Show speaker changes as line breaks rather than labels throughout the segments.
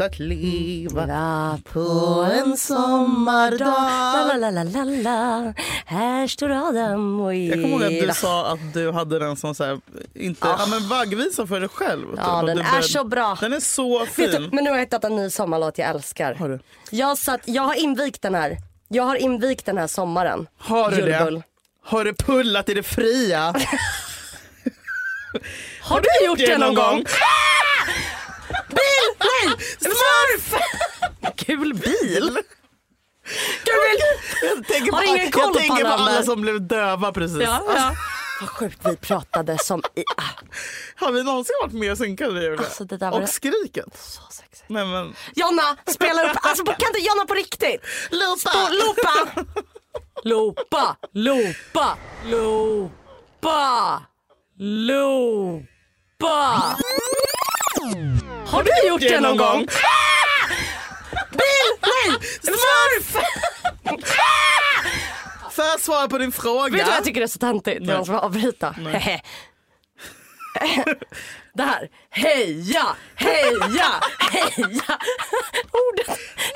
att leva
Mm. På en sommardag la, la, la, la, la. Här står Adam och
Jag kommer ihåg att du
Eva.
sa att du hade den som så här, inte, ja men vaggvisa för dig själv.
Ah.
typ,
Ja,
Att
den
du
är så bra.
Den är så
Vet du,
fin.
men nu har jag hittat en ny sommarlåt jag älskar.
Har du?
Jag, satt, jag har invigt den här. Jag har invigt den här sommaren.
Har du det?
Julbull.
Har du pullat i det fria?
Har, du gjort det någon gång? Bil! Nej! Smurf!
Kul bil! Jag tänker,
Har
på,
ingen koll
jag
på
tänker på
alla
alla
andra.
som blev döva precis.
Ja, ja.
Vad sjukt vi pratade som i... Ah,
Har vi någonsin varit mer synkade? i det?
Alltså, det där var
Och
det-
skriket.
så sexigt.
Nej, men...
Jonna, spela upp. Alltså, på- kan inte Jonna på riktigt? Lopa! lopa! Lopa! Lopa! Lopa! Lopa!
Har du gjort det någon gång?
Bil! Nej! Smurf!
Får jag svara på din fråga?
Vet du vad jag tycker är så töntigt? Det är någon som har avbryta. Det här. Heja, heja, heja. Ordet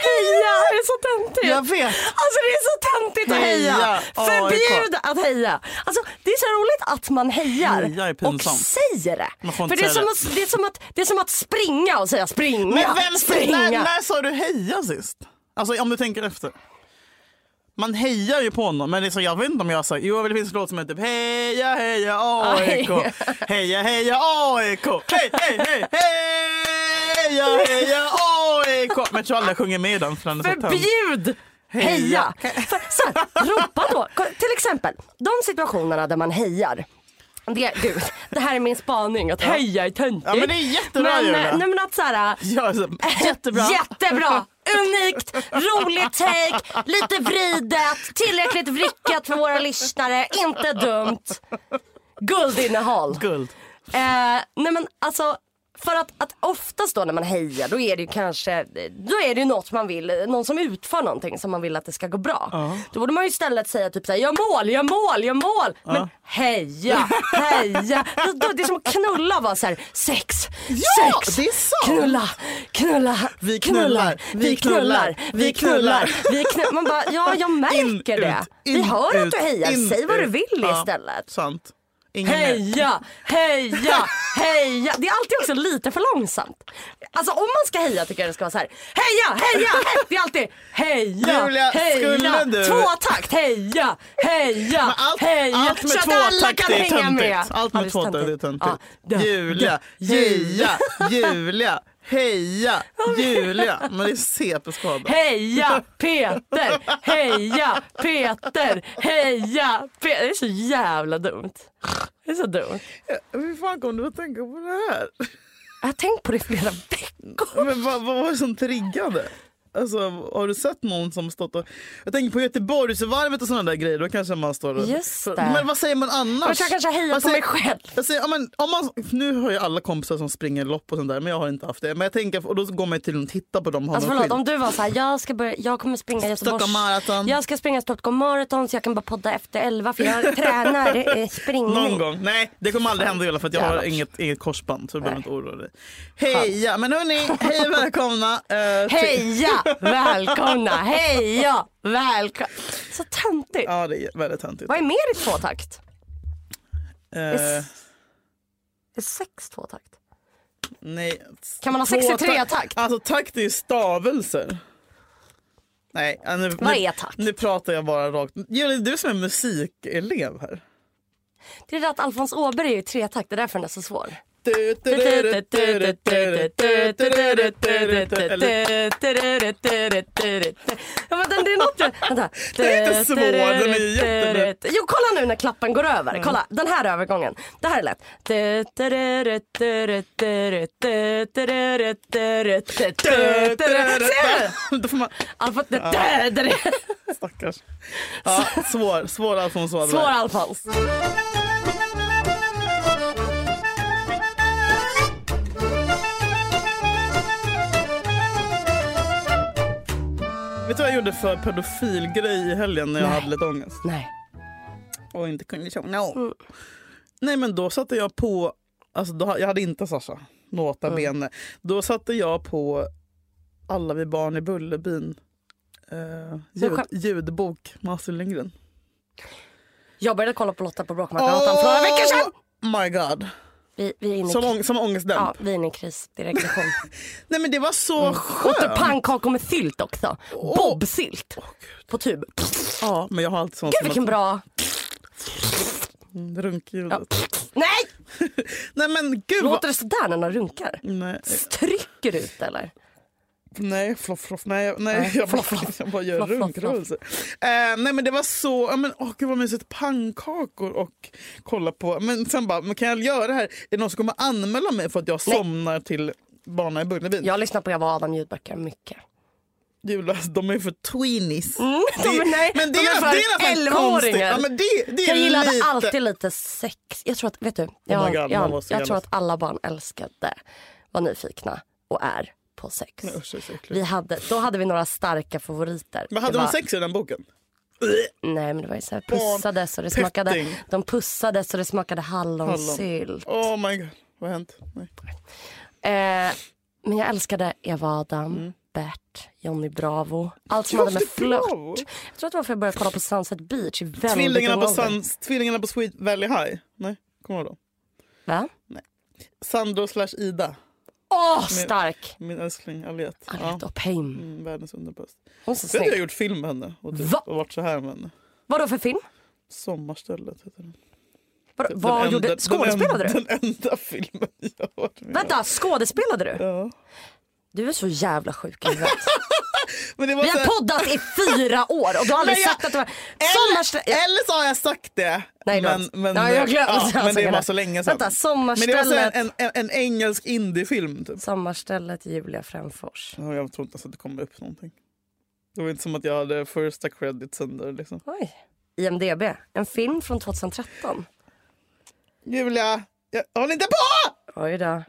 heja är så töntigt.
Jag vet.
Alltså det är så töntigt att heja.
Heja,
Förbjud att heja. Alltså det är så roligt att man hejar
Heja är
och
pinsamt.
säger det.
Man får
För
inte
det är,
säga
som att, det, är som att, det är som att springa och säga springa,
Men vem
springa.
När, när sa du heja sist? Alltså om du tänker efter. Man hejar ju på någon, men det är så, jag vet inte om jag har sagt... Jo, det finns en låt som heter typ Heja heja AIK!
Aj.
Heja heja AIK! Hej hej hej! Heja heja AIK! Men jag tror aldrig jag sjunger med i den för den är så tönt.
Förbjud heja! För, så här, ropa då. Ko- Till exempel, de situationerna där man hejar. Det, gud, det här är min spaning, att heja är töntigt.
Ja, men det är jättebra,
men,
Julia.
eh, nej, men att så här,
Ja, alltså, jättebra.
Jättebra! Unikt, roligt take, lite vridet, tillräckligt vrickat för våra lyssnare, inte dumt. Guldinnehåll.
Guld.
Eh, nej men alltså för att, att oftast då när man hejar då är det ju kanske då är det ju något man vill, någon som utför någonting som man vill att det ska gå bra. Då borde man ju istället säga typ såhär, jag mål, jag mål, jag mål. Men heja, heja. då, då, det är som att knulla bara såhär, sex,
Ja,
sex.
det är sant.
Knulla, knulla,
Vi knullar,
vi knullar, vi knullar. Vi knullar. Man bara, ja jag märker
In, ut,
det. Vi
in,
hör att
ut,
du hejar,
in,
säg vad du
ut.
vill
Ja,
istället.
Sant. Ingen mer.
Heja, heja, heja. Det är alltid också lite för långsamt. Alltså om man ska heja tycker jag det ska vara så här. Heja, heja, heja. Det är alltid heja,
Julia, skulle
heja.
du-
Tvåtakt, heja, heja,
Men allt,
heja.
allt med
Så att alla
tvåtakt
kan
är
hänga
töntigt.
med.
Allt
Ja,
med
det är så
tvåtakt är töntigt.
Ja.
Julia,
Ja. Julia.
Heja, Julia, Heja, Julia. Men det är CP-skada.
Heja Peter, heja Peter, heja Peter. Det är så jävla dumt. Det är så dumt.
Hur fan kom du att tänka på det här?
Jag har tänkt på det i flera veckor.
Men vad, vad var det som triggade? Alltså, har du sett någon som stått och... Jag tänker på Göteborgsvarvet och sådana där grejer. Då kanske man står och...
Just det.
Men vad säger man annars?
Jag tror jag kanske hejar
Vad
på
säger-
mig själv.
Jag säger, ja, men, om man, nu har ju alla kompisar som springer lopp och sånt där, men jag har inte haft det. Men jag tänker, och då går man till och titta på dem. har
Alltså
någon
förlåt,
skydd.
om du var så här, jag, ska börja, jag kommer springa Göteborgs...
Stockholm Marathon.
Jag ska springa Stockholm Marathon så jag kan bara podda efter elva för jag tränar eh, springning.
Någon gång. Nej, det kommer aldrig hända Julia för att jag har
Jävlar.
inget, inget korsband så du behöver inte oroa dig.
Skönt.
Heja! Men hörni, hej och välkomna. eh, till-
Heja, välkomna, heja, välkomna. Så töntigt.
Ja, det är väldigt töntigt.
Vad är mer i tvåtakt? Är
Eh,
s- är sex tvåtakt?
nej.
Kan man ha
Två
63
tak-
takt?
Alltså takt är ju stavelser. Nej, ja, nu,
Vad
nu,
är takt?
nu pratar jag bara rakt. Julia, du som är musikelev här.
Det är det att Alfons Åberg är i tretakt, det är därför den är så svår.
Eller,
Ja, men den, det är något jag... Vänta.
Den är inte svår, den är jättelätt.
Jo, kolla nu när klappen går över. Kolla, den här övergången. Det här är lätt. Ser du?
Då får man...
Alfons... Svår
Stackars. Ja, svår, svår Alfons Åberg.
Alfons.
Vet du vad jag gjorde för pedofilgrej i helgen när jag
Nej.
hade lite ångest?
Nej.
Och inte kunde somna om.
Mm.
Nej men då satte jag på, alltså då, jag hade inte Sasha, nota
Mm.
bene. Då satte jag på Alla vi barn i Bullerbyn. Eh, ljud,
skönt.
ljudbok med Astrid Lindgren.
Jag började kolla på Lotta på Bråkmakargatan för några veckor sedan.
Oh My god.
Vi, vi är inne i
Som,
kris.
ång- som ångestdämp.
Ja, Mm. vi är inne i kris. Det är regression.
Nej men det var så skönt.
Åt typ pannkakor med sylt också. Bobsylt. på tub.
Ja, men jag har alltid sånt
Gud vilken bra.
Mm, runkljudet.
Ja. Nej!
Nej men gud vad...
Låter det sådär när någon runkar?
Nej,
Trycker ut eller?
nej, floff, floff, nej, nej,
Nej,
jag, bara,
floff, floff.
jag bara gör
Floff, floff,
runkrörelser. Eh, nej men det var så, ja, men, åh gud vad mysigt, pannkakor och kolla på. Men sen bara, men kan jag göra det här? Är det någon som kommer anmäla mig för att jag
Nej.
somnar till Barnen i Bullerbyn?
Jag lyssnar på Jag var Adam ljudböcker mycket.
Julas, de är för tweenies.
de är- Mm, nej,
men Mm, det
de är
är,
för
det är nästan
11-åringar.
konstigt. Ja, men det, det är
Jag gillade
lite... Oh
alltid lite sex. Jag tror att, vet du, jag,
my God, man
jag,
var
jag,
så jävla-
tror att alla barn älskade, var nyfikna och är på sex.
Nej, usch, det är så äckligt.
Vi hade, då hade vi några starka favoriter.
Men hade
Det
de
var-
sex i den boken?
Nej men det var ju så här,
Barn-
pussades och det smakade,
petting.
de pussades och det smakade hallonsylt.
Oh my god, vad har hänt? Nej.
Eh, men jag älskade Eva Adam, Bert, Johnny Bravo. Allt som hade med
Mm. Johnny
flört.
Bravo?
Jag tror att det var för att jag började kolla på Sunset Beach i väldigt
Tvillingarna
ung
på,
ålder.
Sans, tvillingarna på Sweet Valley High? Nej, kommer du ihåg dem?
Va?
Sandro slash Ida,
Åh, stark!
min älskling Aliette. Ja.
Aliette Opheim.
Mm, världens underbäst.
Hon är så
Vet du, jag har
snygg.
gjort film med henne och, typ,
Va?
och varit så här med henne.
Vadå för film?
Sommarstället heter den.
Vadå,
Den
vad
enda-
gjorde,
den
skådespelade
enda-
du?
Den enda filmen jag har varit med om.
Vänta, skådespelade du?
Ja.
Du är så jävla sjuk i huvudet.
Men det var
Vi
så
har
här-
poddat i fyra år och du har aldrig
Men jag-
sagt att det var
Eller,
sommarställe.
eller så har jag sagt det.
Nej, det var
men,
inte-
men,
Ja, jag glömde
ja,
att jag
men det
sa
var
det.
så länge sedan.
Vänta,
men det var så här
sommarstället.
en, en, en engelsk indiefilm. Typ.
Sommarstället Julia Fränfors.
Ja, Jag tror inte ens att det kommer upp någonting. Det var inte som att jag hade första creditsen där. Liksom.
Oj. IMDB. En film från 2013.
Julia, jag håller inte på!
Oj då.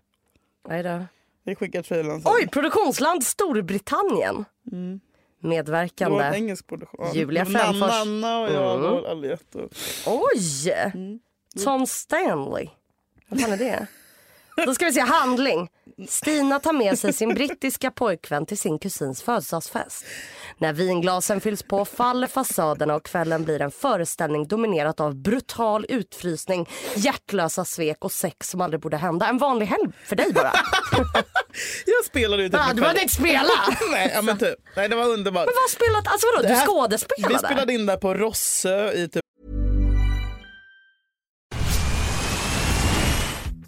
Oj då.
Vi skickar trailern sen.
Oj, produktionsland Storbritannien. Mm.
det var en
Medverkande.
engelsk produktion. Ja,
Julia
det var Nanna-
Fränfors.
Nanna och jag
Mm.
och Aliette. och-
Oj! Tom Stanley. Vad fan är det? Då ska vi se handling. Stina tar med sig sin brittiska pojkvän till sin kusins födelsedagsfest. När vinglasen fylls på faller fasaderna och kvällen blir en föreställning dominerat av brutal utfrysning, hjärtlösa svek och sex som aldrig borde hända. En vanlig helg för dig bara.
Jag spelade ju typ
Ja,
mig
du
själv.
hade inte spelat.
Nej, ja, men typ. Nej, det var underbart.
Vad spelat? Alltså vadå,
Det
du
här-
skådespelade?
Vi spelade in där på Rossö i typ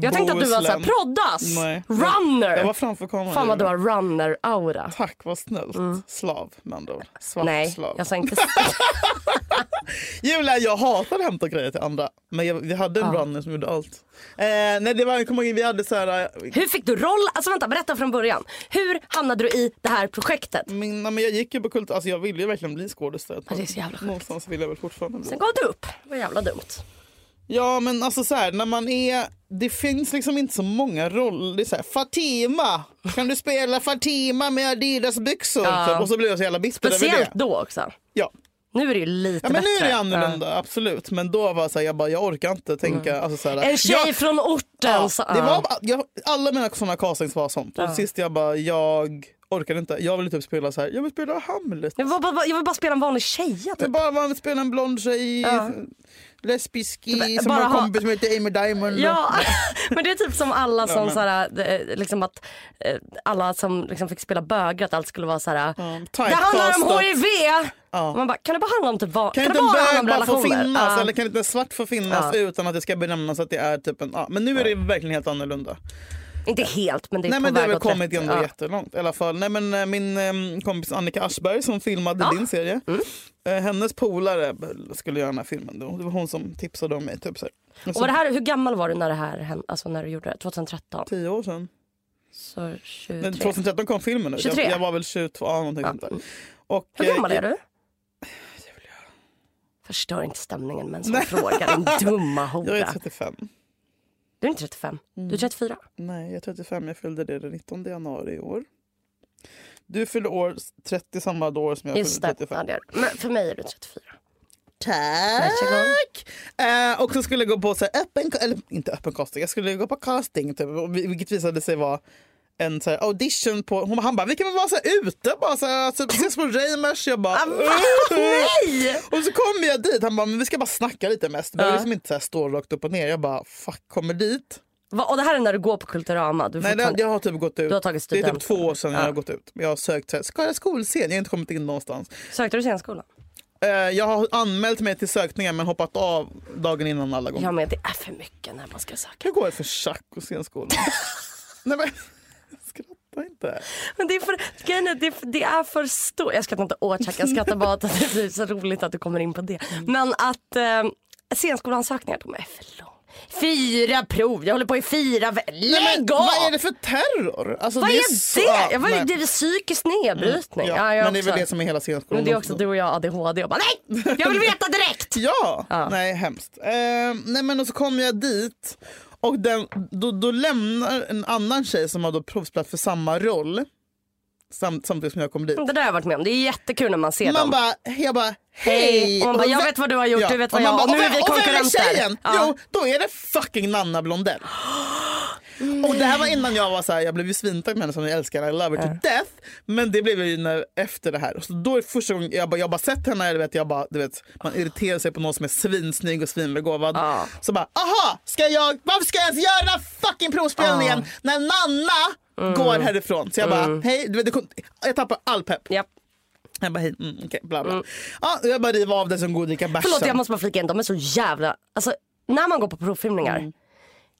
Jag tänkte att du var såhär,
Bohuslän.
proddas,
Nej.
runner.
Jag var framför kameran.
Fan vad du har runner-aura.
Tack, vad snällt. Slav med andra ord. Svart
Nej,
slav.
jag sa inte
Julia, jag hatar att hämta grejer till andra. Men jag, vi hade en runner som gjorde allt. Eh, nej, det var, jag kommer ihåg, vi hade så här... eh,
Hur fick du roll? Alltså vänta, berätta från början. Hur hamnade du i det här projektet?
Min, nej, men jag gick ju på kult... Alltså jag ville ju verkligen bli skådis. där ett
Ja, det är
tag.
så jävla sjukt.
Någonstans vill jag väl fortfarande bli.
Sen gav du upp. Det var jävla dumt.
Ja, men alltså så här, när man är... Det finns liksom inte så många roller. Det är så här, Fatima! Kan du spela Fatima med Adidas byxor? Typ. Och så blir jag så jävla bitter över det.
Speciellt då också.
Ja.
Nu är det ju lite
Ja, men nu
bättre.
är det annorlunda, absolut. Men då var jag så här, jag bara, jag orkar inte tänka. Alltså så
Ja.
här,
Mm. En tjej
jag,
från orten.
ja,
så,
det var, jag, Alla mina sådana castings var sånt. Och sist jag bara, jag orkar inte. Jag ville typ spela så här, jag vill spela Hamlet.
jag, vill bara, jag vill bara spela en vanlig tjej.
Det är
Typ.
bara man vill spela en blond tjej, lesbisk, i, som
bara
har en
ha-
kompis som heter Amy Diamond.
Ja, men det är typ som alla som,
Mm. men-
såhär, eh, liksom att, eh, alla som liksom fick spela bögar, att allt skulle vara såhär, det handlar om
typecastat."
HIV! Och Man bara, kan det bara handla om typ vad,
Kan,
kan
inte
det
en
bara handla
bög bara
om
få
relationer?
finnas
Ja.
eller kan inte en svart få finnas
Ja.
utan att det ska benämnas att det är typ en... Ja, men nu är det verkligen helt annorlunda.
Inte helt men det är
Nej
på
men det har
väg
väl
åt rätt-
kommit ändå
ja.
jättelångt i alla fall. Nej, men, eh, min eh, kompis Annika Aschberg som filmade din serie.
Mm.
Eh, hennes polare skulle göra den här filmen. Då. Det var hon som tipsade om mig. Typ, så här. Men
Och
så,
var det här, hur gammal var du när det här hände? Alltså när du gjorde det? 2013?
Tio år sedan.
Så
Typ. Men
23?
2013 kom filmen ut. Jag,
23.
jag var väl 22, ja, någonting sånt där. Och,
Hur gammal
eh,
är du? Förstör inte stämningen med en sån fråga, din dumma hora.
Jag är Mm. 35.
Du är inte 35, du är 34.
Nej, jag är 35. Jag fyllde det den 19 januari i år. Du fyllde år 30 samma år som jag
Just
fyllde
det,
35.
ja, det är du. Men för mig är du 34.
Tack!
Varsågod.
Eh, och så skulle jag gå på så här, öppen, eller inte öppen casting, jag skulle gå på casting typ, och vi- vilket visade sig vara en så här audition på, hon, han bara vi kan väl vara så här ute bara så här, typ, ses på Reimers. Jag bara nej! Och så kom jag dit, han bara men vi ska bara snacka lite mest. Jag liksom inte så här stå rakt upp och ner. Jag bara fuck kommer dit.
Va, och det här är när du går på Kulturama? Du
Nej det, jag har typ gått ut.
Du har tagit
det är typ
studenten.
två år sedan jag har gått ut. Jag har sökt så här, Skara skolscen, jag har inte kommit in någonstans.
Sökte du scenskolan?
Eh, jag har anmält mig till sökningen men hoppat av dagen innan alla gånger.
Ja men det är för mycket när man ska söka.
Jag går för schack och scenskolan. Nej men, skratta inte.
Men det är för, grejen är, det är för, det är för stort. Jag skrattar inte åt Chuck, jag skrattar bara åt att det blir så roligt att du kommer in på det.
Mm.
Men att eh, scenskolansökningar, de är för långa. Fyra prov, jag håller på i fyra ve-
Nej, men,
Lägg av!
vad är det för terror? Alltså,
Vad
det
är
så-
det? Jag var,
nej. Mm,
det är psykisk nedbrytning.
Ja,
jag
men det är väl
också.
det som är hela scenskolan.
men det är också du och jag ADHD. Jag bara nej! Jag vill veta direkt!
Ja, nej hemskt. Eh, nej men och så kom jag dit och den, då, då lämnar en annan tjej som har då provspelat för samma roll sam, samtidigt som jag kom dit.
Det där har jag varit med om. Det är jättekul när man ser
Man
dem.
bara, jag bara
Hej.
hej!
Och man bara, jag
ve-
vet vad du har gjort, du vet vad
Och
jag-
man
och nu är
vem-
vi
Och vem
konkurrenter.
är tjejen?
Ja.
Jo, då är det fucking Nanna Blondell.
Mm.
Och det här var innan jag var så här, jag blev ju svintag med henne som jag älskar, I love her to death. Men det blev jag ju när, efter det här. Och Så då är det första gången jag bara, jag bara sett henne, eller vet, jag bara, du vet, man irriterar sig på någon som är svinsnygg och svinbegåvad. Så bara, aha, ska jag, varför ska jag ens göra den här fucking provspelningen när Nanna
Mm.
går härifrån? Så jag bara, hej, du vet, det kom- jag tappar all pepp.
Ja.
Jag bara, hej, mm, okej, bla bla. Ja, jag bara river av det som god dricka bärs.
Förlåt
sen.
jag måste bara flika in, de är så jävla... Alltså när man går på provfilmningar,
Mm.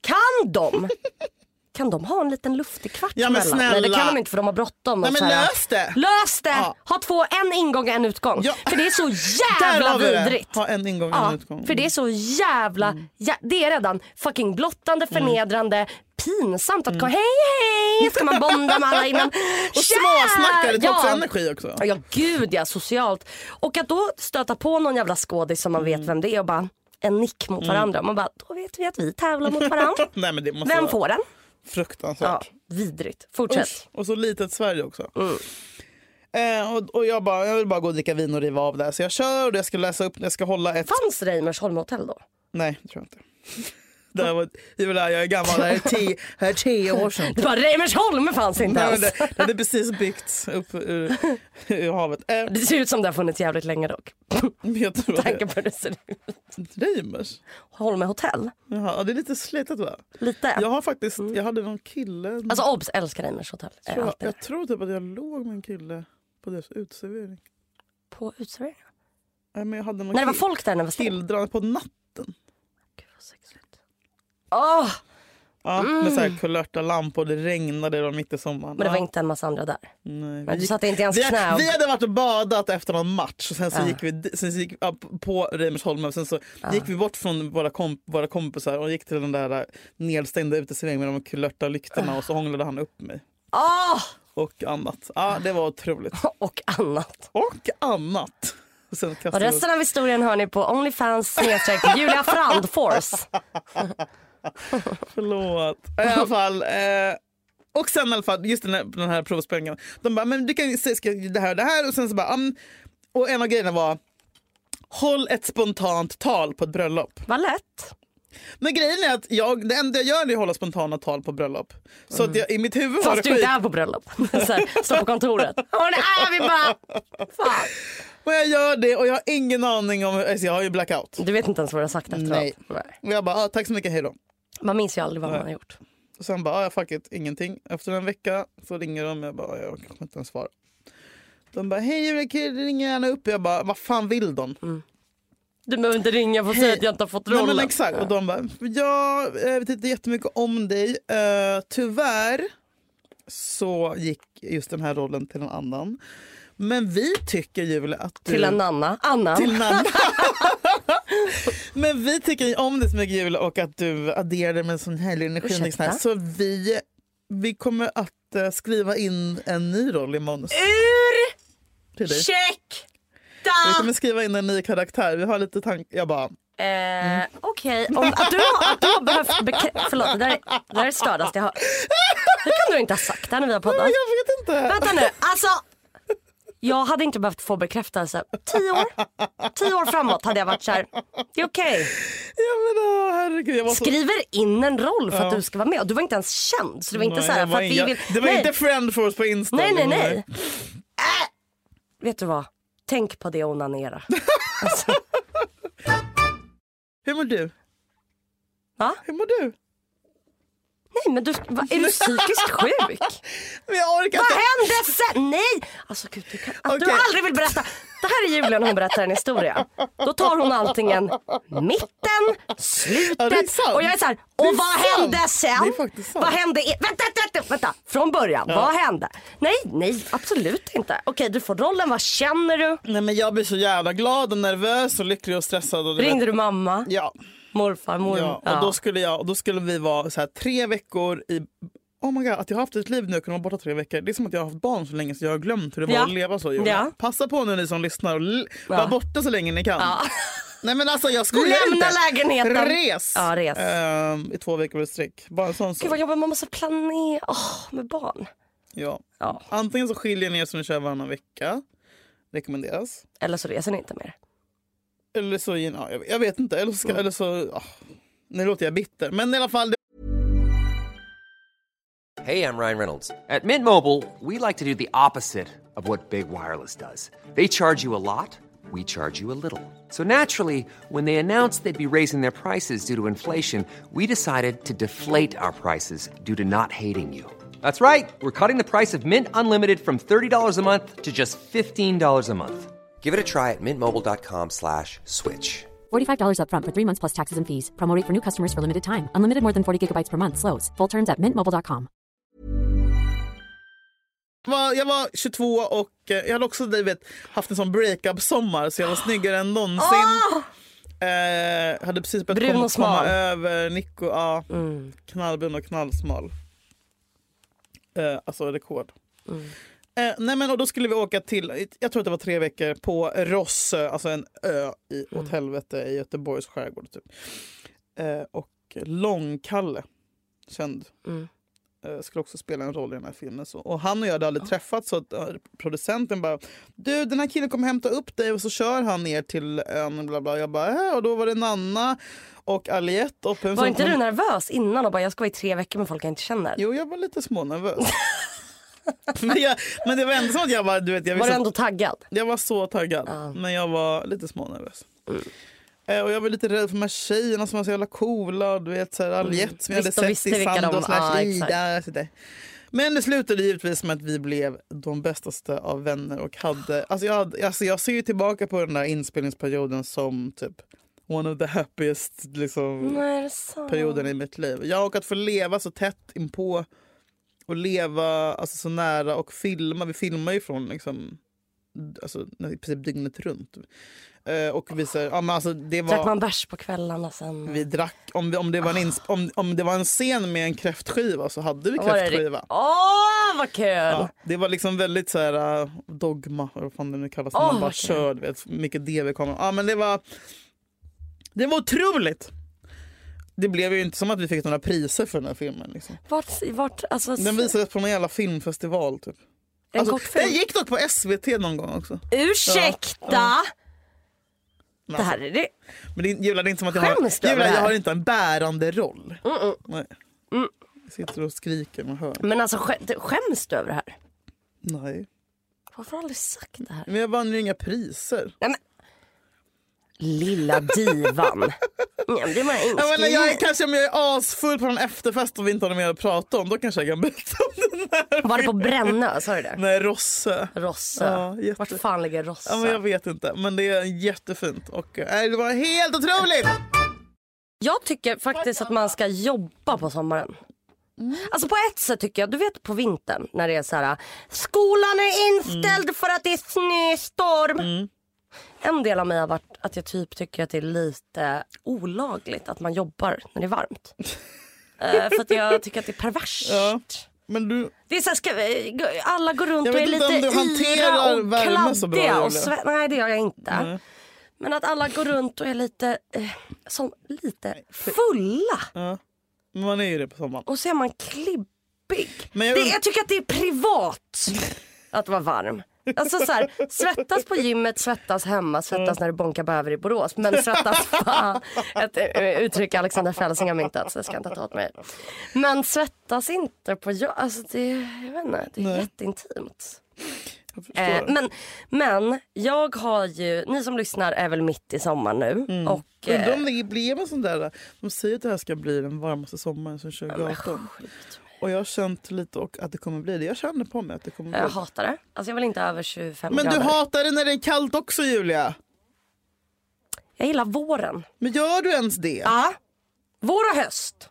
kan de Kan de ha en liten luftig kvart
Ja, men
mellan? Nej det kan
snälla.
de inte för de har bråttom.
Nej,
och
men
så här-
lös det.
Lös det!
Ja.
Ha två, en ingång och en utgång.
Ja.
För det är så
Där
jävla
har vi det.
vidrigt.
Ha en ingång och en
Ja,
utgång. Mm.
för det är så jävla, ja, det är redan fucking blottande, förnedrande, pinsamt att komma, hej hej, ska man bonda med alla innan.
Mm. Och småsnackar, det tar också energi också.
Ja gud ja, socialt. Och att då stöta på någon jävla skådis som man vet
Mm.
vem det är och bara en nick mot varandra. Man bara, då vet vi att vi tävlar mot varandra.
Nej men det måste
vem
vara
får den? Ja,
fruktansvärt.
vidrigt. Fortsätt.
Usch, och så litet Sverige också.
Mm.
Eh, och, och jag bara, jag vill bara gå och dricka vin och riva av det här. Så jag kör och jag ska läsa upp, jag ska hålla ett...
Fanns Reimers Holm Hotel då?
Nej, det tror jag inte. Det här var, det var där jag är gammal, det här är tio, det här är tio år sedan.
Det var Reimers Holm fanns inte
Nej, men
ens.
det, det hade precis byggts upp ur, ur havet. Eh,
Det ser ut som det har funnits jävligt länge dock.
jag tror
Med tanke
det.
på hur det ser ut.
Reimers?
Holme hotell.
Jaha, ja, det är lite slitet va?
Lite.
Jag har faktiskt, jag hade någon kille.
Mm. Alltså obs, älskar Reimers hotell. Är
tror jag,
alltid
jag tror typ att jag låg med en kille på deras uteservering.
På utserveringen.
Nej, men jag hade någon
När det var
kill-
folk där när det var stor.
killdrande på natten.
Gud vad sexigt. Åh,
Ja, Med så här kulörta lampor, det regnade det var mitt i sommaren.
Mm. men det var
ja,
inte en massa andra där.
nej,
Men
vi
du
gick-
satte inte i hans
vi,
knä. Och...
vi hade varit och badat efter någon match och sen så gick vi, di- sen så gick, ja, p- på Reimersholmen och sen så gick vi bort från våra, komp, våra kompisar och gick till den där äh, nedstängda uteserveringen med de kulörta lyktorna
Ah.
och så hånglade han upp mig.
Åh,
Och annat. Ja, det var otroligt.
och annat.
Och annat. Och sen
Och
kastade vi oss-
resten av historien hör ni på Onlyfans snedstreck Julia Frandfors.
Förlåt. I alla fall. Eh, och sen i alla fall, just den här, den här provspelningen. De bara, men du kan ju se ska jag göra det här och det här. Och sen så bara, mm. och en av grejerna var, håll ett spontant tal på ett bröllop.
Vad lätt.
Men grejen är att jag, det enda jag gör är att hålla spontana tal på bröllop. Så att jag, i mitt huvud var
Mm. Fast
det
du inte
skit.
är på bröllop. Så här, Står på kontoret. Hon är vi bara. Fan.
Men jag gör det och jag har ingen aning om, alltså jag har ju blackout.
Du vet inte ens vad du har sagt efteråt.
Nej.
Nej.
Och jag bara, ah, tack så mycket, hej då.
Man minns ju aldrig vad man har gjort.
Och sen bara, ah, fuck it, ingenting. Efter en vecka så ringer de jag bara, jag kommer inte ens
Mm.
svara. De bara, hej Julia Kid, ringer gärna upp. Jag bara, vad fan vill de?
Du behöver inte ringa för att säga att jag inte har fått
Nej,
rollen.
men exakt. Och de bara, ja, jag eh, vet inte jättemycket om dig. Eh, tyvärr så gick just den här rollen till en annan. Men vi tycker Julia att du...
Till en Anna.
Mm.
Anna.
till en annan. Men vi tycker ju om det så mycket Julia och att du adderade med en sån härlig energi. och
Ursäkta?
sånt här. Så vi, vi kommer att eh, skriva in en ny roll i manus
Ursäkta!
till dig. Vi kommer skriva in en ny karaktär. Vi har lite tankar. Jag bara,
Eh, Okej, om- att, du har- att du har behövt bekrä- Förlåt, det där är det, där är det stördaste jag har Hur kan du inte ha sagt det här när vi har poddat?
jag vet inte.
Vänta nu, alltså. Jag hade inte behövt få bekräftelse. Tio år, tio år framåt hade jag varit så här. Det är okej.
Jag menar, herregud. Jag var så...
Skriver in en roll för att du ska vara med. Och du var inte ens känd. Så det var inte så här,
jag
för
var
att vi
inga-
vill...
Det var
nej,
inte friend for us på Insta. eh,
nej, nej, nej. Äh! Vet du vad? Tänk på det och onanera. Alltså,
Hur mår du?
va?
Hur mår du?
Nej men du, va, är du psykiskt sjuk?
Men jag orkar
Vad
inte.
hände sen? Nej! Alltså gud, du kan, att du
Okej.
aldrig vill berätta. Det här är julen hon berättar en historia. Då tar hon antingen mitten,
Ja,
slutet
det är sant.
och jag är så här,
Det är
och vad
sant.
hände sen?
Det är faktiskt sant.
Vad hände? I, vänta, vänta, vänta, från början. Vad hände? Nej, nej, absolut inte. Okej, du får rollen. Vad känner du?
Nej, men jag blir så jävla glad och nervös och lycklig och stressad. Och du
Ringde
vet-
du mamma,
Ja.
morfar, mormor?
ja. Och då skulle, jag, och då skulle vi vara så här, tre veckor i... Oh my god, att jag har haft ett liv nu och kunnat vara borta tre veckor. Det är som att jag har haft barn så länge så jag har glömt hur det
Ja.
var att leva så. Julia.
Ja.
Passa på nu ni som lyssnar och l-
Ja.
var borta så länge ni kan.
Ja.
Nej men alltså jag skulle
Lämna
inte.
lägenheten.
Res!
Ja, res.
Ehm, I två veckor i sträck. Bara en sån
Gud vad
sak.
jobbigt, man måste planera Åh, med barn.
Ja.
Ja.
Antingen så skiljer ni er så ni kör varannan vecka. Rekommenderas.
Eller så reser ni inte mer.
Eller så, ja, jag- jag vet inte. Eller så, ska,
Mm.
eller så ah, nu låter jag bitter. Men i alla fall, det
Hey, I'm Ryan Reynolds. At Mint Mobile, we like to do the opposite of what Big Wireless does. They charge you a lot, we charge you a little. So naturally, when they announced they'd be raising their prices due to inflation, we decided to deflate our prices due to not hating you. That's right. We're cutting the price of Mint Unlimited from $30 a month to just $15 a month. Give it a try at mintmobile.com slash switch.
$45 upfront for three months plus taxes and fees. Promo rate for new customers for limited time. Unlimited more than 40 gigabytes per month. Slows. Full terms at mintmobile.com.
var, jag var 22 och eh, jag hade också du vet, haft en sån breakup-sommar så jag var
Ah.
snyggare än någonsin. Eh, hade precis börjat
Brun och
komma, komma
smal.
över Nico. Ja,
Mm,
Knallbrun och knallsmal. Eh, alltså rekord.
mm.
Eh, nej men, och då skulle vi åka till, jag tror att det var tre veckor, på Rossö, alltså en ö i,
Mm.
åt helvete i Göteborgs skärgård. Typ. Eh, och Långkalle, känd,
Mm.
eh, skulle också spela en roll i den här filmen. Så. Och han och jag hade aldrig träffats så att, eh, producenten bara du den här killen kommer hämta upp dig och så kör han ner till ön. Bla bla. Jag bara, äh, och då var det Nanna och Aliette. Och
Var inte du nervös innan och bara jag ska vara i tre veckor med folk jag inte känner?
Jo, jag var lite smånervös. men, jag, men det var ändå som att jag var, du vet, jag
Var
visste
du
att-
ändå taggad?
jag var så taggad, men jag var lite smånervös.
Mm.
Eh, Och jag var lite rädd för de här tjejerna som var så jävla coola. och Du vet, så här, Aliette som jag
Mm. Visst, de
hade
visste
sett i
vilka de-
Sandra
ja,
slash
exakt.
Ida. Så där. Men det slutade givetvis med att vi blev de bästaste av vänner. Och hade, alltså jag, hade, alltså jag ser ju tillbaka på den där inspelningsperioden som typ one of the happiest liksom,
Nej, det är sant.
perioden i mitt liv. Jag har åkat få leva så tätt inpå och leva alltså, så nära och filma. Vi filmar ju från liksom, alltså, i princip dygnet runt. Eh, och vi, så, ja, men alltså, det
Drack man
var,
bärs på kvällarna sen?
vi drack, om, vi, om, det var en insp- om, om det var en scen med en kräftskiva så hade vi
Vad var det?
kräftskiva.
Åh, vad kul!
Ja, det var liksom väldigt så här äh, dogma, eller vad fan det nu kallas.
Åh,
man bara
vad kul.
kör, du vet, mycket DV kommer. Ja, men det var, det var otroligt. Det blev ju inte som att vi fick några priser för den här filmen. Liksom.
Vart, vart, alltså,
Den visades på någon jävla filmfestival. Typ.
en
Alltså,
kortfilm?
den gick dock på SVT någon gång också.
Ursäkta! Det här är det.
Men det, är- Julia, det är inte som att jag har,
Skäms du över
Julia,
det
jag
här?
har inte en bärande roll. Nej.
Mm.
Jag sitter och skriker man hör.
Men alltså skä- skäms du över det här?
Nej.
Varför har du aldrig sagt det här?
Men jag vann ju inga priser.
Lilla divan. Ja, men det var inte
Jag, menar, jag är, kanske om jag är asfull på någon efterfest och vi inte har något mer att prata om, då kanske jag kan berätta om den här.
Var det på Brännö? Sa du det?
Nej, Rosse.
Rosse.
Ja, jätte-
Vart fan ligger Rosse?
Ja, men jag vet inte, men det är jättefint. Och, eh, nej, det var helt otroligt!
Jag tycker faktiskt att man ska jobba på sommaren. Alltså på ett sätt tycker jag, du vet på vintern när det är så här skolan är inställd för att det är snöstorm. En del av mig har varit att jag typ tycker att det är lite olagligt att man jobbar när det är varmt. Eh, för att jag tycker att det är perverst.
Ja. Men du,
Det är så här, ska, vi- alla går runt
Jag
och är
vet inte
lite
om du hanterar
yra och
värme så bra,
kladdiga. Och
Julia.
sve- Nej det gör jag inte. Men att alla går runt och är lite, eh, som, lite fulla.
man är ju det på sommaren.
Och så är man klibbig.
Men jag
det,
und-
jag tycker att det är privat att vara varm. Alltså så här, svettas på gymmet, svettas hemma,
Mm.
svettas när du bonkar bäver i Borås. Men svettas fan, ett eh, uttryck Alexander Fälsing har myntat så jag ska inte ta åt mig. Men svettas inte på jobbet, alltså det, jag vet inte, det är jätteintimt.
Jag förstår.
Eh, men, men jag har ju, ni som lyssnar är väl mitt i sommar nu. Och,
Mm. Undrar
eh,
om det blev en sån där... De säger att det här ska bli den varmaste sommaren sedan 2018. Och jag har känt lite och att det kommer bli det. Jag känner på mig att det kommer bli
jag
det.
hatar det. Alltså jag vill inte över 25
Men du
grader.
hatar det när det är kallt också Julia.
Jag gillar våren.
Men gör du ens det?
Ja. Vår och höst.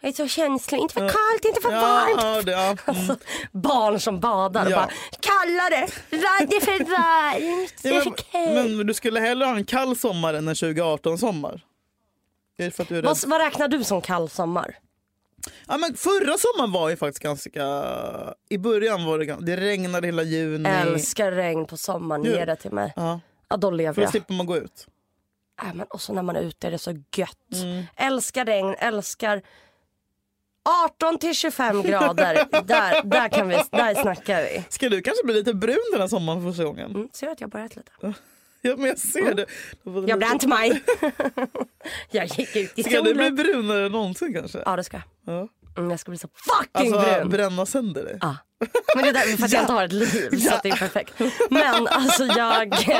Jag är så känslig. Inte för kallt, inte för
ja,
varmt.
ja, det, ja.
Alltså, barn som badar och
Ja.
bara kallare, Va- det är för varmt, det är
Ja,
för
men,
kallt.
men du skulle hellre ha en kall sommar än en 2018-sommar. Är det för att du är rädd?
Vad, vad räknar du som kall sommar?
Ja, men förra sommaren var ju faktiskt ganska... I början var det ganska... Det regnade hela juni.
Älskar regn på sommaren,
Jo.
ge det till mig.
Ja, typ-
Ja, då lever
för då
jag.
slipper man gå ut.
Äh, men, och så när man är ute är det så gött.
Mm.
Älskar regn, älskar 18 till 25 grader. där, där, kan vi, där snackar vi.
Ska du kanske bli lite brun den här sommaren för första gången?
Mm, ser du att jag har börjat lite?
Ja, men jag ser det.
Jag brann till mig. jag gick ut i
Mm. Ska du bli
solen.
brunare än någonsin kanske?
Ja det ska jag.
Ja.
Mm, jag ska bli så fucking
Alltså
brun.
bränna sönder dig?
ja. Men det där är för att jag inte har ett liv så att det är perfekt. Men alltså jag, eh,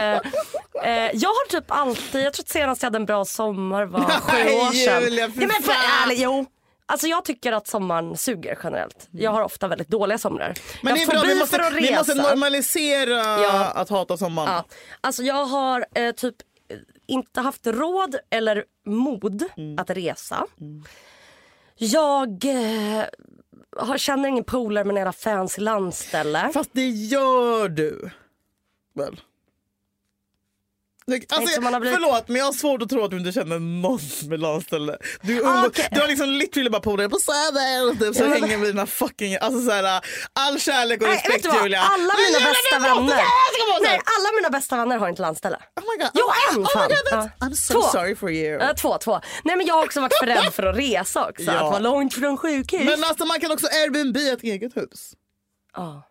eh, jag har typ alltid, jag tror att senast jag hade en bra sommar var sju
Nej,
år sedan.
Julia, för
Nej, men för
fan.
ärligt, jo. Alltså jag tycker att sommaren suger generellt. Jag har ofta väldigt dåliga somrar.
Men
jag
det är
har
bra,
fobi
vi
för
måste,
att
vi måste
resa.
normalisera
Ja.
att hata sommaren.
Ja. Alltså jag har eh, typ eh, inte haft råd eller mod
Mm.
att resa. Jag eh, har, känner ingen polare med några fans i landställe.
Fast det gör du väl? Alltså,
som man har blivit-
Förlåt men jag har svårt att tro att du inte känner någon med landställe. Du, umgås-
Ah, okej.
du har liksom literally bara polare på Söder och typ, så
Ja, men-
hänger med dina fucking... Alltså, så här, all kärlek och
Nej, vet
respekt
du vad?
Julia.
Alla
Men
mina
Julia,
bästa
vi måste-
vänner.
Jag ska bara-
Nej, alla mina bästa vänner har inte landställe.
Oh my god.
Jo,
oh,
en
oh my
fan.
god, that's-
Ja.
I'm so
Två.
sorry for you.
Eh, två, två. Nej men jag har också varit för rädd för att resa också.
Ja.
Att vara långt från sjukhus.
Men alltså man kan också Airbnb ett eget hus.
Ja.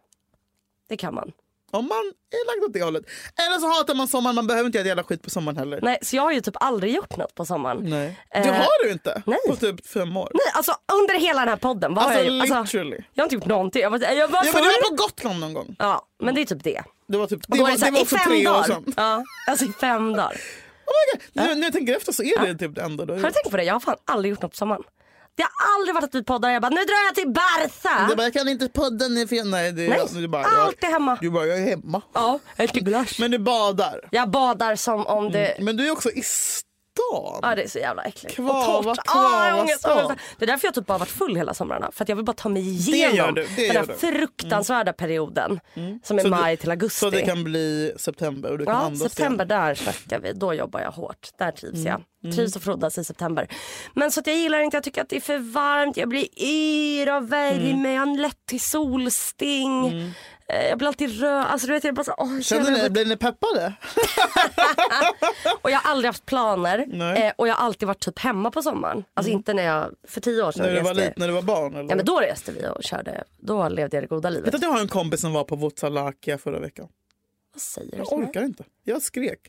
Det kan man.
Om man är lagd åt det hållet. Eller så hatar man sommaren, man behöver inte göra ett jävla skit på sommaren heller.
Nej, så jag har ju typ aldrig gjort något på sommaren.
Nej.
Eh,
Det har du inte
nej.
på typ fem år.
Nej, alltså under hela den här podden. Vad
Alltså
har jag, gjort?
literally.
jag har inte gjort någonting. Jag var, alltså, jag var
Ja, men du var på Gotland någon gång.
Ja, men det är typ det.
Det var, typ,
Och
det
då är
var,
det,
det
så här,
var
i
också
fem
tre
dagar.
år sedan.
Ja, alltså i fem dagar.
Oh my god. Nu, nu jag tänker efter så är det typ det enda du har
Har du
gjort.
tänkt på det? Jag har fan aldrig gjort något på sommaren. Det har aldrig varit att vi poddar och jag bara, nu drar jag till Barca.
Du bara, jag kan inte podda nu för jag... Nej, det, alltså,
Nej,
du bara,
allt är
jag,
hemma.
Du bara, jag är hemma.
Ja, ett gulasch.
Men Mm. du badar.
Jag badar som om det...
Men du är också i stan.
Ja, det är så jävla äckligt.
Kvava,
och torrt.
kvava
Ah, jag har ångest,
stan.
ångest. Det är därför jag typ bara har varit full hela somrarna. För att jag vill bara ta mig igenom
du, det
den här
gör du.
fruktansvärda perioden. Som är
Så det-
maj till augusti.
Så det kan bli september och du kan
Ja,
andas
september
igen.
där snackar vi. Då jobbar jag hårt. Där
Mm.
trivs jag. Trivs och frodas i september. Men så att jag gillar inte, jag tycker att det är för varmt. Jag blir yr av
Mm.
värme, jag har lätt till solsting. Eh, Jag blir alltid röd. Alltså, du vet, jag bara så, åh,
Känner
jävla
ni,
jobbigt.
blir ni peppade?
och jag har aldrig haft planer.
Nej. Mm.
Eh, Och jag har alltid varit typ hemma på sommaren. Alltså inte när jag, för tio år sedan
När du var
reste.
liten, när du var barn? Eller?
Ja, men då reste vi och körde. Då levde jag det goda livet.
Vet att jag har en kompis som var på Voutsalaka förra veckan.
Vad säger du
Jag
till mig?
orkar inte. Jag skrek.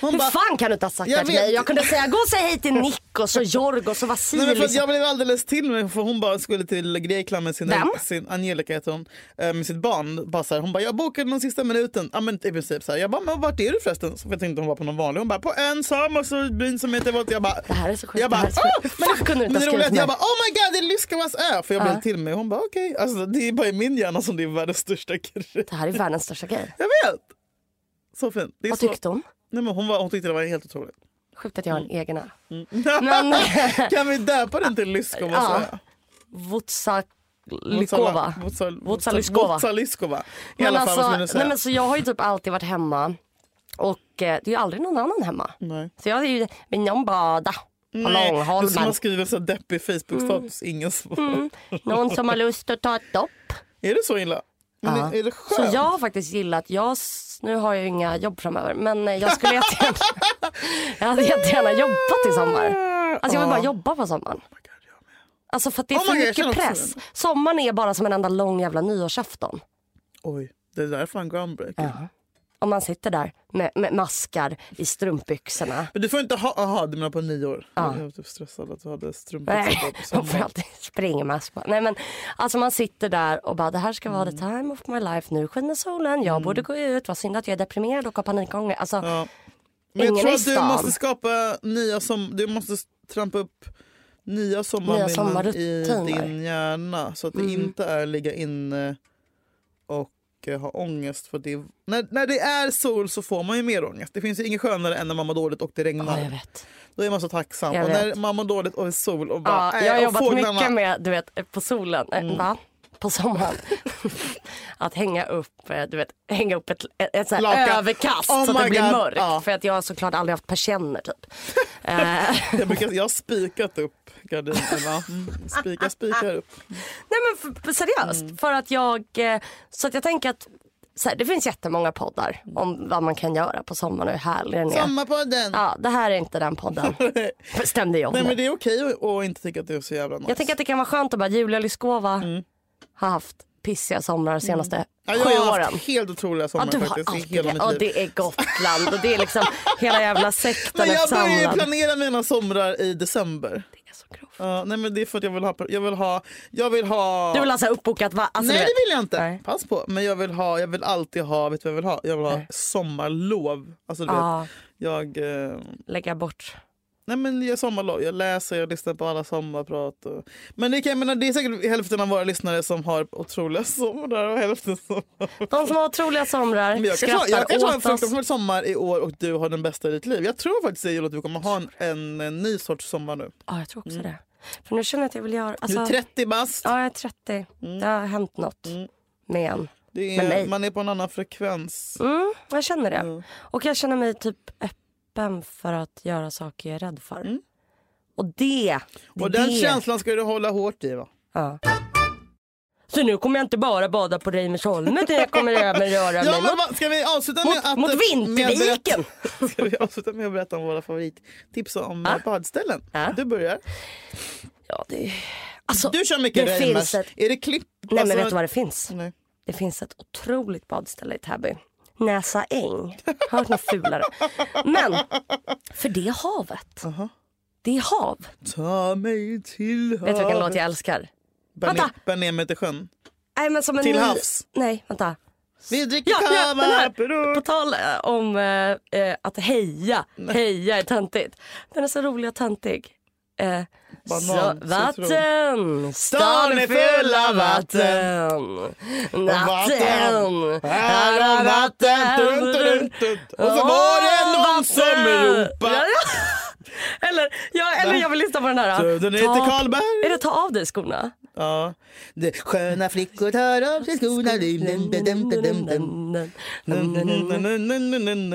Hon
Hur
bara-
fan kan du inte ha sagt det
Jag
här till
vet.
mig? Jag kunde säga gå och säg hej till Nikos och Jorgos och
Nej, men för
Vasilis.
att jag blev alldeles till mig för hon bara skulle till Grekland med sin,
liksom? Vem?
sin Angelica heter hon, eh, med sitt barn. Bara så här, hon bara jag bokade den sista minuten. Ja, men, I princip så här. Jag bara men vart är du förresten? Så jag tänkte hon var på någon vanlig. Hon bara på en Samosbyn som heter vårt. Jag bara
Det här är så sjukt,
Jag
det
bara,
här är så
"Ah!"
sjukt.
men,
Fuck, kunde du inte
men
ha
det
skrivit
roliga är att
till
jag bara oh my god det är Lyskavas ö. För jag blev till mig. Hon bara okej. Alltså, det är bara i min hjärna som det är världens största grej.
Det här är världens största grej.
Jag vet. Så fint. Det är
Vad
så...
tyckte hon? Mm.
Nej, men hon, var, hon tyckte det var helt otroligt.
Sjukt att jag har en egen ö. Men
Kan vi döpa den till Lyskova?
Ja.
Så?
Votsalikova.
Votsal-
Votsaliskova.
Votsaliskova. I
Men
alla fall vad
alltså,
skulle du
nej
säga?
men så jag har ju typ alltid varit hemma och eh, det är ju aldrig någon annan hemma.
Nej.
Så jag är ju min någon bada på
Nej, det är som
Långholmen.
att skriva en sån deppig Facebook-status.
Mm.
Ingen svar.
Någon som har lust att ta ett dopp.
Är det så illa? Men
Ja.
är, är det
Så
skönt?
jag har faktiskt gillat, jag, s- nu har jag ju inga jobb framöver men eh, jag skulle jättegärna, jag hade jättegärna jobbat i sommar. Alltså jag vill bara jobba på sommaren. Alltså för att det är
Oh my
för
God, jag
mycket
känner också
press. Sommaren är bara som en enda lång jävla nyårsafton.
Oj, det där är fan groundbreaking.
Om man sitter där med, med maskar i strumpbyxorna.
Men du får inte ha... Jaha, du menar på nyår? Jag blev typ stressad att du hade
Nej,
strumpbyxor typ på
de får
sommaren.
alltid springmask på. Nej men alltså man sitter där och bara det här ska vara the
Mm.
time of my life. Nu skiner solen, jag borde gå ut. Vad synd att jag är deprimerad och har panikångest. Alltså,
Men jag
ingen
tror
i
att du
stan.
måste skapa nya som... Du måste trampa upp nya sommarminnen i
sommarrutiner.
din hjärna. Så att det
Mm.
inte är ligga inne och eh, ha ångest. För det, när, när det är sol så får man ju mer ångest. Det finns ju inget skönare än när man mår dåligt och det
ja,
regnar.
jag vet.
Då är man så tacksam.
Jag
Och
vet.
när man mår dåligt och det är sol och bara...
Ja,
äh,
jag har
och
jobbat
fåglarna. Mm.
mycket med, du vet, på solen. eh, Va? På sommaren. att hänga upp, eh, du vet, hänga upp ett, ett, ett så här
Lakan.
överkast
Oh
så att det
my
blir
God.
mörkt.
Ja.
För att jag har såklart aldrig haft persienner typ. Eh,
Jag, brukar, jag har spikat upp gardinerna. Mm, spika, spikar upp.
Nej men för, för seriöst.
Mm.
För att jag, eh, så att jag tänker att så här, det finns jättemånga poddar om vad man kan göra på sommaren och hur härlig den är.
Sommarpodden!
Ja, det här är inte den podden. Bestämde jag
Nej
mig.
men det är okej att- att inte tycka att det är så jävla nice.
Jag tänker att det kan vara skönt att bara Julia Lyskova har haft pissiga somrar senaste
Mm. Ja,
sju
jag har
åren.
haft helt otroliga
Ja,
sommar
du har
faktiskt i
alltid
hela
det.
mitt
Ja,
liv.
det är Gotland och det är liksom hela jävla sektorn
Men
är
jag börjar ju
samlad.
planera mina somrar i december.
Det är så grovt.
Ja, nej men det är för att jag vill ha... Jag vill ha, jag vill ha...
Du vill alltså ha uppbokat va?
nej
Alltså, du
det
vet-
vill jag inte.
Nej.
Pass på. Men jag vill, ha, jag vill alltid ha... Vet du vad jag vill ha? Jag vill ha sommarlov. Alltså du
Ja.
vet, jag... eh,
Lägga bort.
Nej men jag har sommarlov. Jag läser, jag lyssnar på alla sommarprat. Och... Men det, kan, jag menar, det är säkert hälften av våra lyssnare som har otroliga somrar och hälften som...
De som har otroliga
Men
somrar
jag kanske har,
skrattar
jag kanske har en
åt oss.
fruktansvärd sommar i år och du har den bästa i ditt liv. Jag tror faktiskt Julia, att du kommer ha en, en, en ny sorts sommar nu.
Ja, jag tror också det. För nu känner jag att jag vill göra...
Mm. Du
Alltså,
är Mm. 30 bast.
Ja, jag är 30. Det har hänt något
Mm.
med en.
Det
men
är,
nej.
man är på en annan frekvens.
Mm, jag känner det. Och jag känner mig typ öppen för att göra saker jag är rädd för. Och det... det
Mm. Och
är
den
det.
känslan ska du hålla hårt i va?
Ja. Så nu kommer jag inte bara bada på Reimersholmen utan jag kommer även
Ja,
röra mig
men
mot,
va, ska vi avsluta med att... eh,
mot, mot
med att
Vinterviken.
berätta- Ska vi avsluta med att berätta om våra favorittips om
Ja.
eh, badställen?
Ja.
Du börjar.
Ja, det... Alltså,
Du kör mycket
det
Reimers.
finns ett...
Är det klipp?
Nej,
Alltså,
men vet du vad det finns?
Nej.
Det finns ett otroligt badställe i Täby. Näsa äng. Har Hört något fulare. Men, för det är havet. Det är hav.
Ta mig till
Vet du vilken låt
havet.
jag älskar?
Bär ner-
Vänta.
Bär ner mig till sjön.
Nej, men som en
Till
ny-
havs.
Nej, vänta.
Vi dricker
Ja, ja, den
kava,
här.
Aperol.
På tal eh, om eh, eh, att heja. Heja är töntigt. Den är så rolig och töntig. Eh,
Banan,
så,
citron.
vatten, stan är full av vatten. Natten, här
Här
är
om vatten, dun, dun, dun. Och så var det någon som
Ja,
ropade.
ja. Eller, ja, eller jag vill lyssna på den här.
Södern heter
Ta-
Karlberg.
Är det ta av dig skorna?
Ja. Det- Sköna flickor tar av sig skorna. Dum, dum, dum, dum, dum.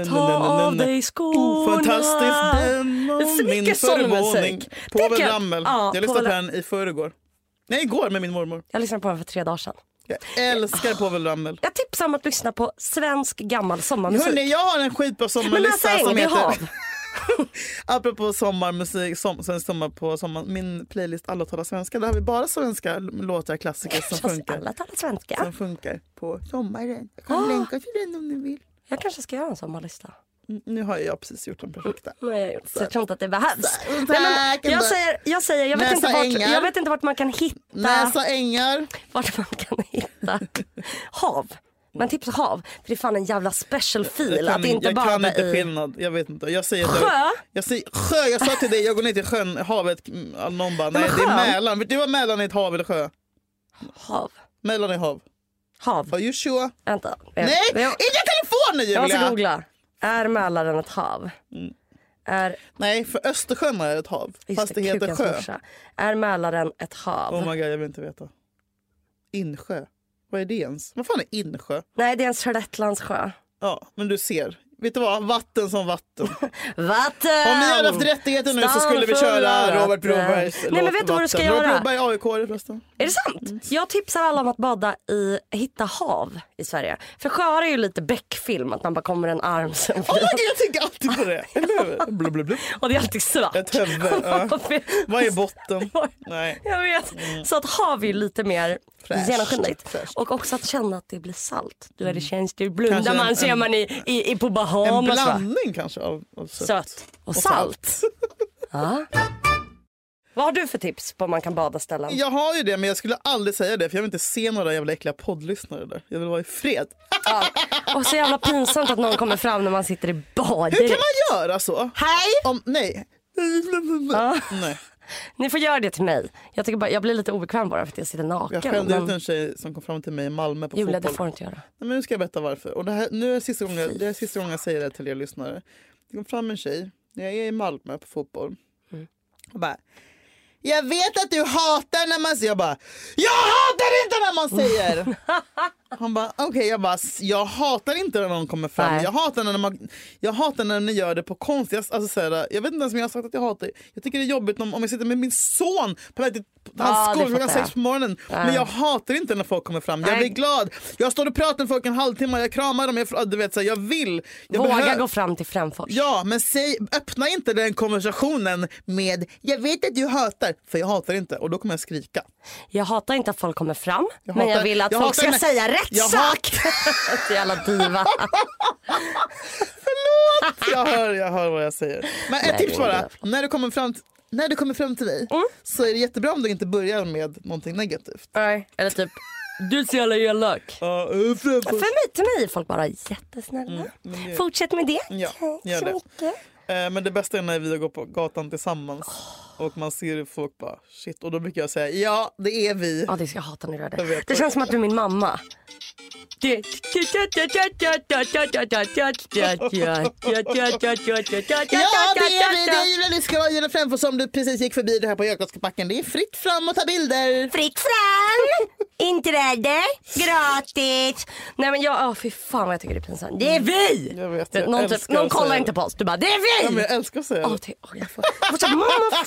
Ta av dig skorna.
Fantastiskt. Den
Det är så
om min
mycket sån
förvåning.
musik. Det
Povel
kan-
Ramel.
Ja,
Jag lyssnade på
Povel-
den i förrgår. Nej, igår med min mormor.
Jag lyssnade på den för tre dagar sedan.
Jag älskar Povel Ramel.
Jag tipsar om att lyssna på svensk gammal sommarmusik.
Hörni, jag har en skitbra
Men
sommarlista
läsa äng,
som
det är
heter...
hav.
Apropå sommarmusik, som, sen sommar på sommar, min playlist Alla talar svenska, där har vi bara svenska l- låtar, klassiker som
Fast
funkar.
Alltså, alla talar sänka. Ah.
Som funkar på sommaren. Jag kan länka till den om ni vill.
Jag kanske ska göra en sommarlista.
Nu har jag precis gjort den perfekta.
Nej, jag har gjort så jag tror inte att det behövs.
Tack
Nej, men
ändå.
jag säger, jag säger, jag vet,
Näsa
inte vart,
ängar.
jag vet inte vart man kan hitta,
Näsa ängar.
vart man kan hitta hav. Men tips hav, för det är fan en jävla special feel.
Jag
att det
kan,
inte
jag
bara
kan
är
inte
i-
skillnad. Jag vet inte. Jag säger
Sjö?
Jag, säger, sjö, jag sa till dig, jag går ner till sjön, havet. Mm, Någon bara, nej
men
det är
sjön.
Mälaren. Vet du vad Mälaren är ett hav eller sjö?
Hav.
Mälaren är hav.
Hav.
Are you sure?
Vänta.
Nej,
Jag,
inga telefoner
jag måste
Julia! Mm.
googla. Är Mälaren ett hav? Är,
Nej, för Östersjön är ett hav.
just
fast det heter
kukens
sjö.
morsa. Är Mälaren ett hav?
Oh my god, jag vill inte veta. Insjö. Vad är det ens? Vad fan är insjö?
Nej, det är en Sörlettlandssjö.
Ja, men du ser. Vet du vad? Vatten som vatten.
Vatten!
Om ni hade haft rättigheter nu så skulle vi
Stan full av
köra
vatten.
Robert Brobergs
Nej,
låt
men vet du vad du ska
Vatten. Robert
göra?
Broberg AIK förresten.
Är det sant? Jag tipsar alla om att bada i, hitta hav i Sverige. För sjöar är ju lite bäckfilm, att man bara kommer en arm sen
Oh my god, jag tänker alltid på det. Eller hur? Blub, blub, blub.
och det är alltid svart.
Ett huvud. Ja. Vad är botten?
Vad-
Nej.
Jag vet. Så att hav är ju lite mer
Fräscht.
genomskinligt.
Fräscht. Mm.
Och också att känna att det blir salt. Du är det känns, du blundar
Kanske en-
man så är man i, i, i på
En
Bahamas va?
blandning kanske av, av sött.
Sött och salt. Ja. Vad har du för tips på om man kan bada ställen?
Jag har ju det, men jag skulle aldrig säga det för jag vill inte se några jävla äckliga poddlyssnare där. Jag vill vara i fred.
Och så jävla pinsamt att någon kommer fram när man sitter i bad.
Hur kan man göra så?
Hej!
Om, nej. nej.
Ni får göra det till mig. Jag, tycker bara, jag blir lite obekväm bara för att jag sitter naken.
Jag skällde
men-
ut en tjej som kom fram till mig i Malmö på
Julia, det
fotboll.
får du inte göra.
Nej, men nu ska jag berätta varför. Och det, här, nu är det, sista gången, det är sista gången jag säger det här till er lyssnare. Det kom fram en tjej när jag är i Malmö på fotboll.
Mm.
Och bara, jag vet att du hatar när man säger... Jag bara, jag hatar inte när man säger! Han bara, okej, jag bara, "S- jag hatar inte när någon kommer fram.
Nej.
Jag hatar, när man, jag hatar när ni gör det på konstiga... Alltså, så här, jag vet inte ens om jag har sagt att jag hatar. Jag tycker det är jobbigt om, om jag sitter med min son på väg till
Ja,
hans
det
skola klockan
fattar jag.
sex på morgonen. Men jag hatar inte när folk kommer fram. Jag
Nej.
blir glad. Jag står och pratar med folk en halvtimme, jag kramar dem, jag, fr- du vet, så här, jag vill. Jag
Våga
behö-
gå fram till Främfors.
Ja, men säg, öppna inte den konversationen med jag vet att du hatar, för jag hatar inte och då kommer jag skrika.
Jag hatar inte att folk kommer fram,
Jag
men
hatar-
jag vill att
jag
folk ska
hatar när-
säga rätt
Jag
sak. Så jävla diva.
Jag hör, jag hör vad jag säger. Men ett tips
Nej, det är Mm.
bara,
inte
när du kommer fram, t- när du kommer fram till mig så är det jättebra om du inte börjar med någonting negativt.
Nej, Eller typ, du är så jävla elak.
Ja, eh, framför-
För mig, till mig är folk bara
Mm,
jättesnälla. Fortsätt med det.
Ja,
Tack
gör
så
det.
mycket.
Eh, Men det bästa är när vi går på gatan tillsammans och man ser hur folk bara shit och då brukar jag säga ja det är vi.
Ja, det ska jag hata när du gör
Jag
det.
vet
Det
det.
känns som att du är min mamma.
Ja det är vi, det är ju väldigt skoj genom framför som du precis gick förbi det här på Jakobsbacken. Det är fritt fram att ta bilder.
Fritt fram! Inträde eh? gratis! Nej men jag, oh, fy fan vad jag tycker det är pinsamt. Det är vi!
Jag vet, jag
någon typ,
älskar
någon
att
kollar
säga
inte på oss, du bara det
Ja,
är
men
vi!
jag älskar att säga
Åh,
det.
det- åh, jag får, jag får så, här, mamma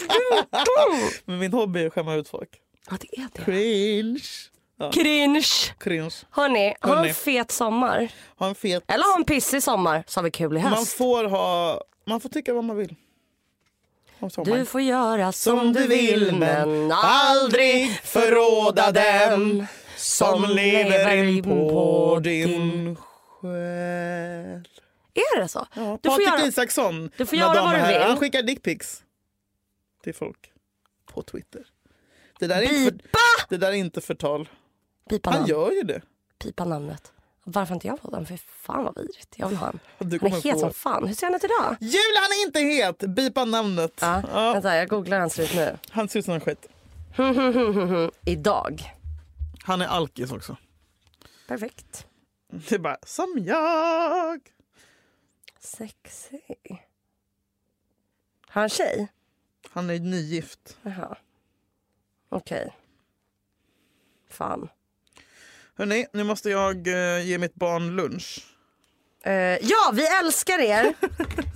sluta!
Men min hobby är att skämma ut folk.
Ja det är det.
Cringe. Ja,
Cringe!
cringe.
Hörni, ha
Hörni.
en fet sommar.
Ha en fet...
Eller ha en pissig sommar så har vi kul i höst.
Man får ha... Man får tycka vad man vill. Om sommaren.
Du får göra som, du vill men aldrig förråda dem som lever in på din
själ.
Är det så?
Ja,
du får
Patrik
göra...
Isaksson,
du får
mina
göra
damer och
vad du
herrar,
vill.
han skickar dickpics till folk på Twitter. Det där är, inte för,
Pipa!
det där är inte förtal.
Pipa,
Han
namn.
gör ju det.
Pipa namnet. Varför har inte jag fått den? För fan vad vidrigt. Jag vill ha en.
Du
Han är
kommer
het
få...
som fan. Hur ser han ut idag?
Julia, han är inte het! Bipa namnet.
Ja,
Ja,
Vänta, jag googlar hans ut nu.
han ser ut som en skit.
idag.
Han är alkis också.
Perfekt.
Det är bara, som jag.
Sexy. Har han tjej?
Han är nygift.
Jaha. Okej. Fan.
Hörrni, nu måste jag eh, ge mitt barn lunch.
Eh, ja, vi älskar er.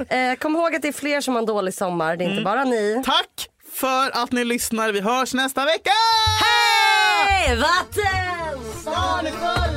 Eh, kom ihåg att det är fler som har en dålig sommar. Det är
Mm.
inte bara ni.
Tack för att ni lyssnar. Vi hörs nästa vecka!
Hej, vatten!
Hej!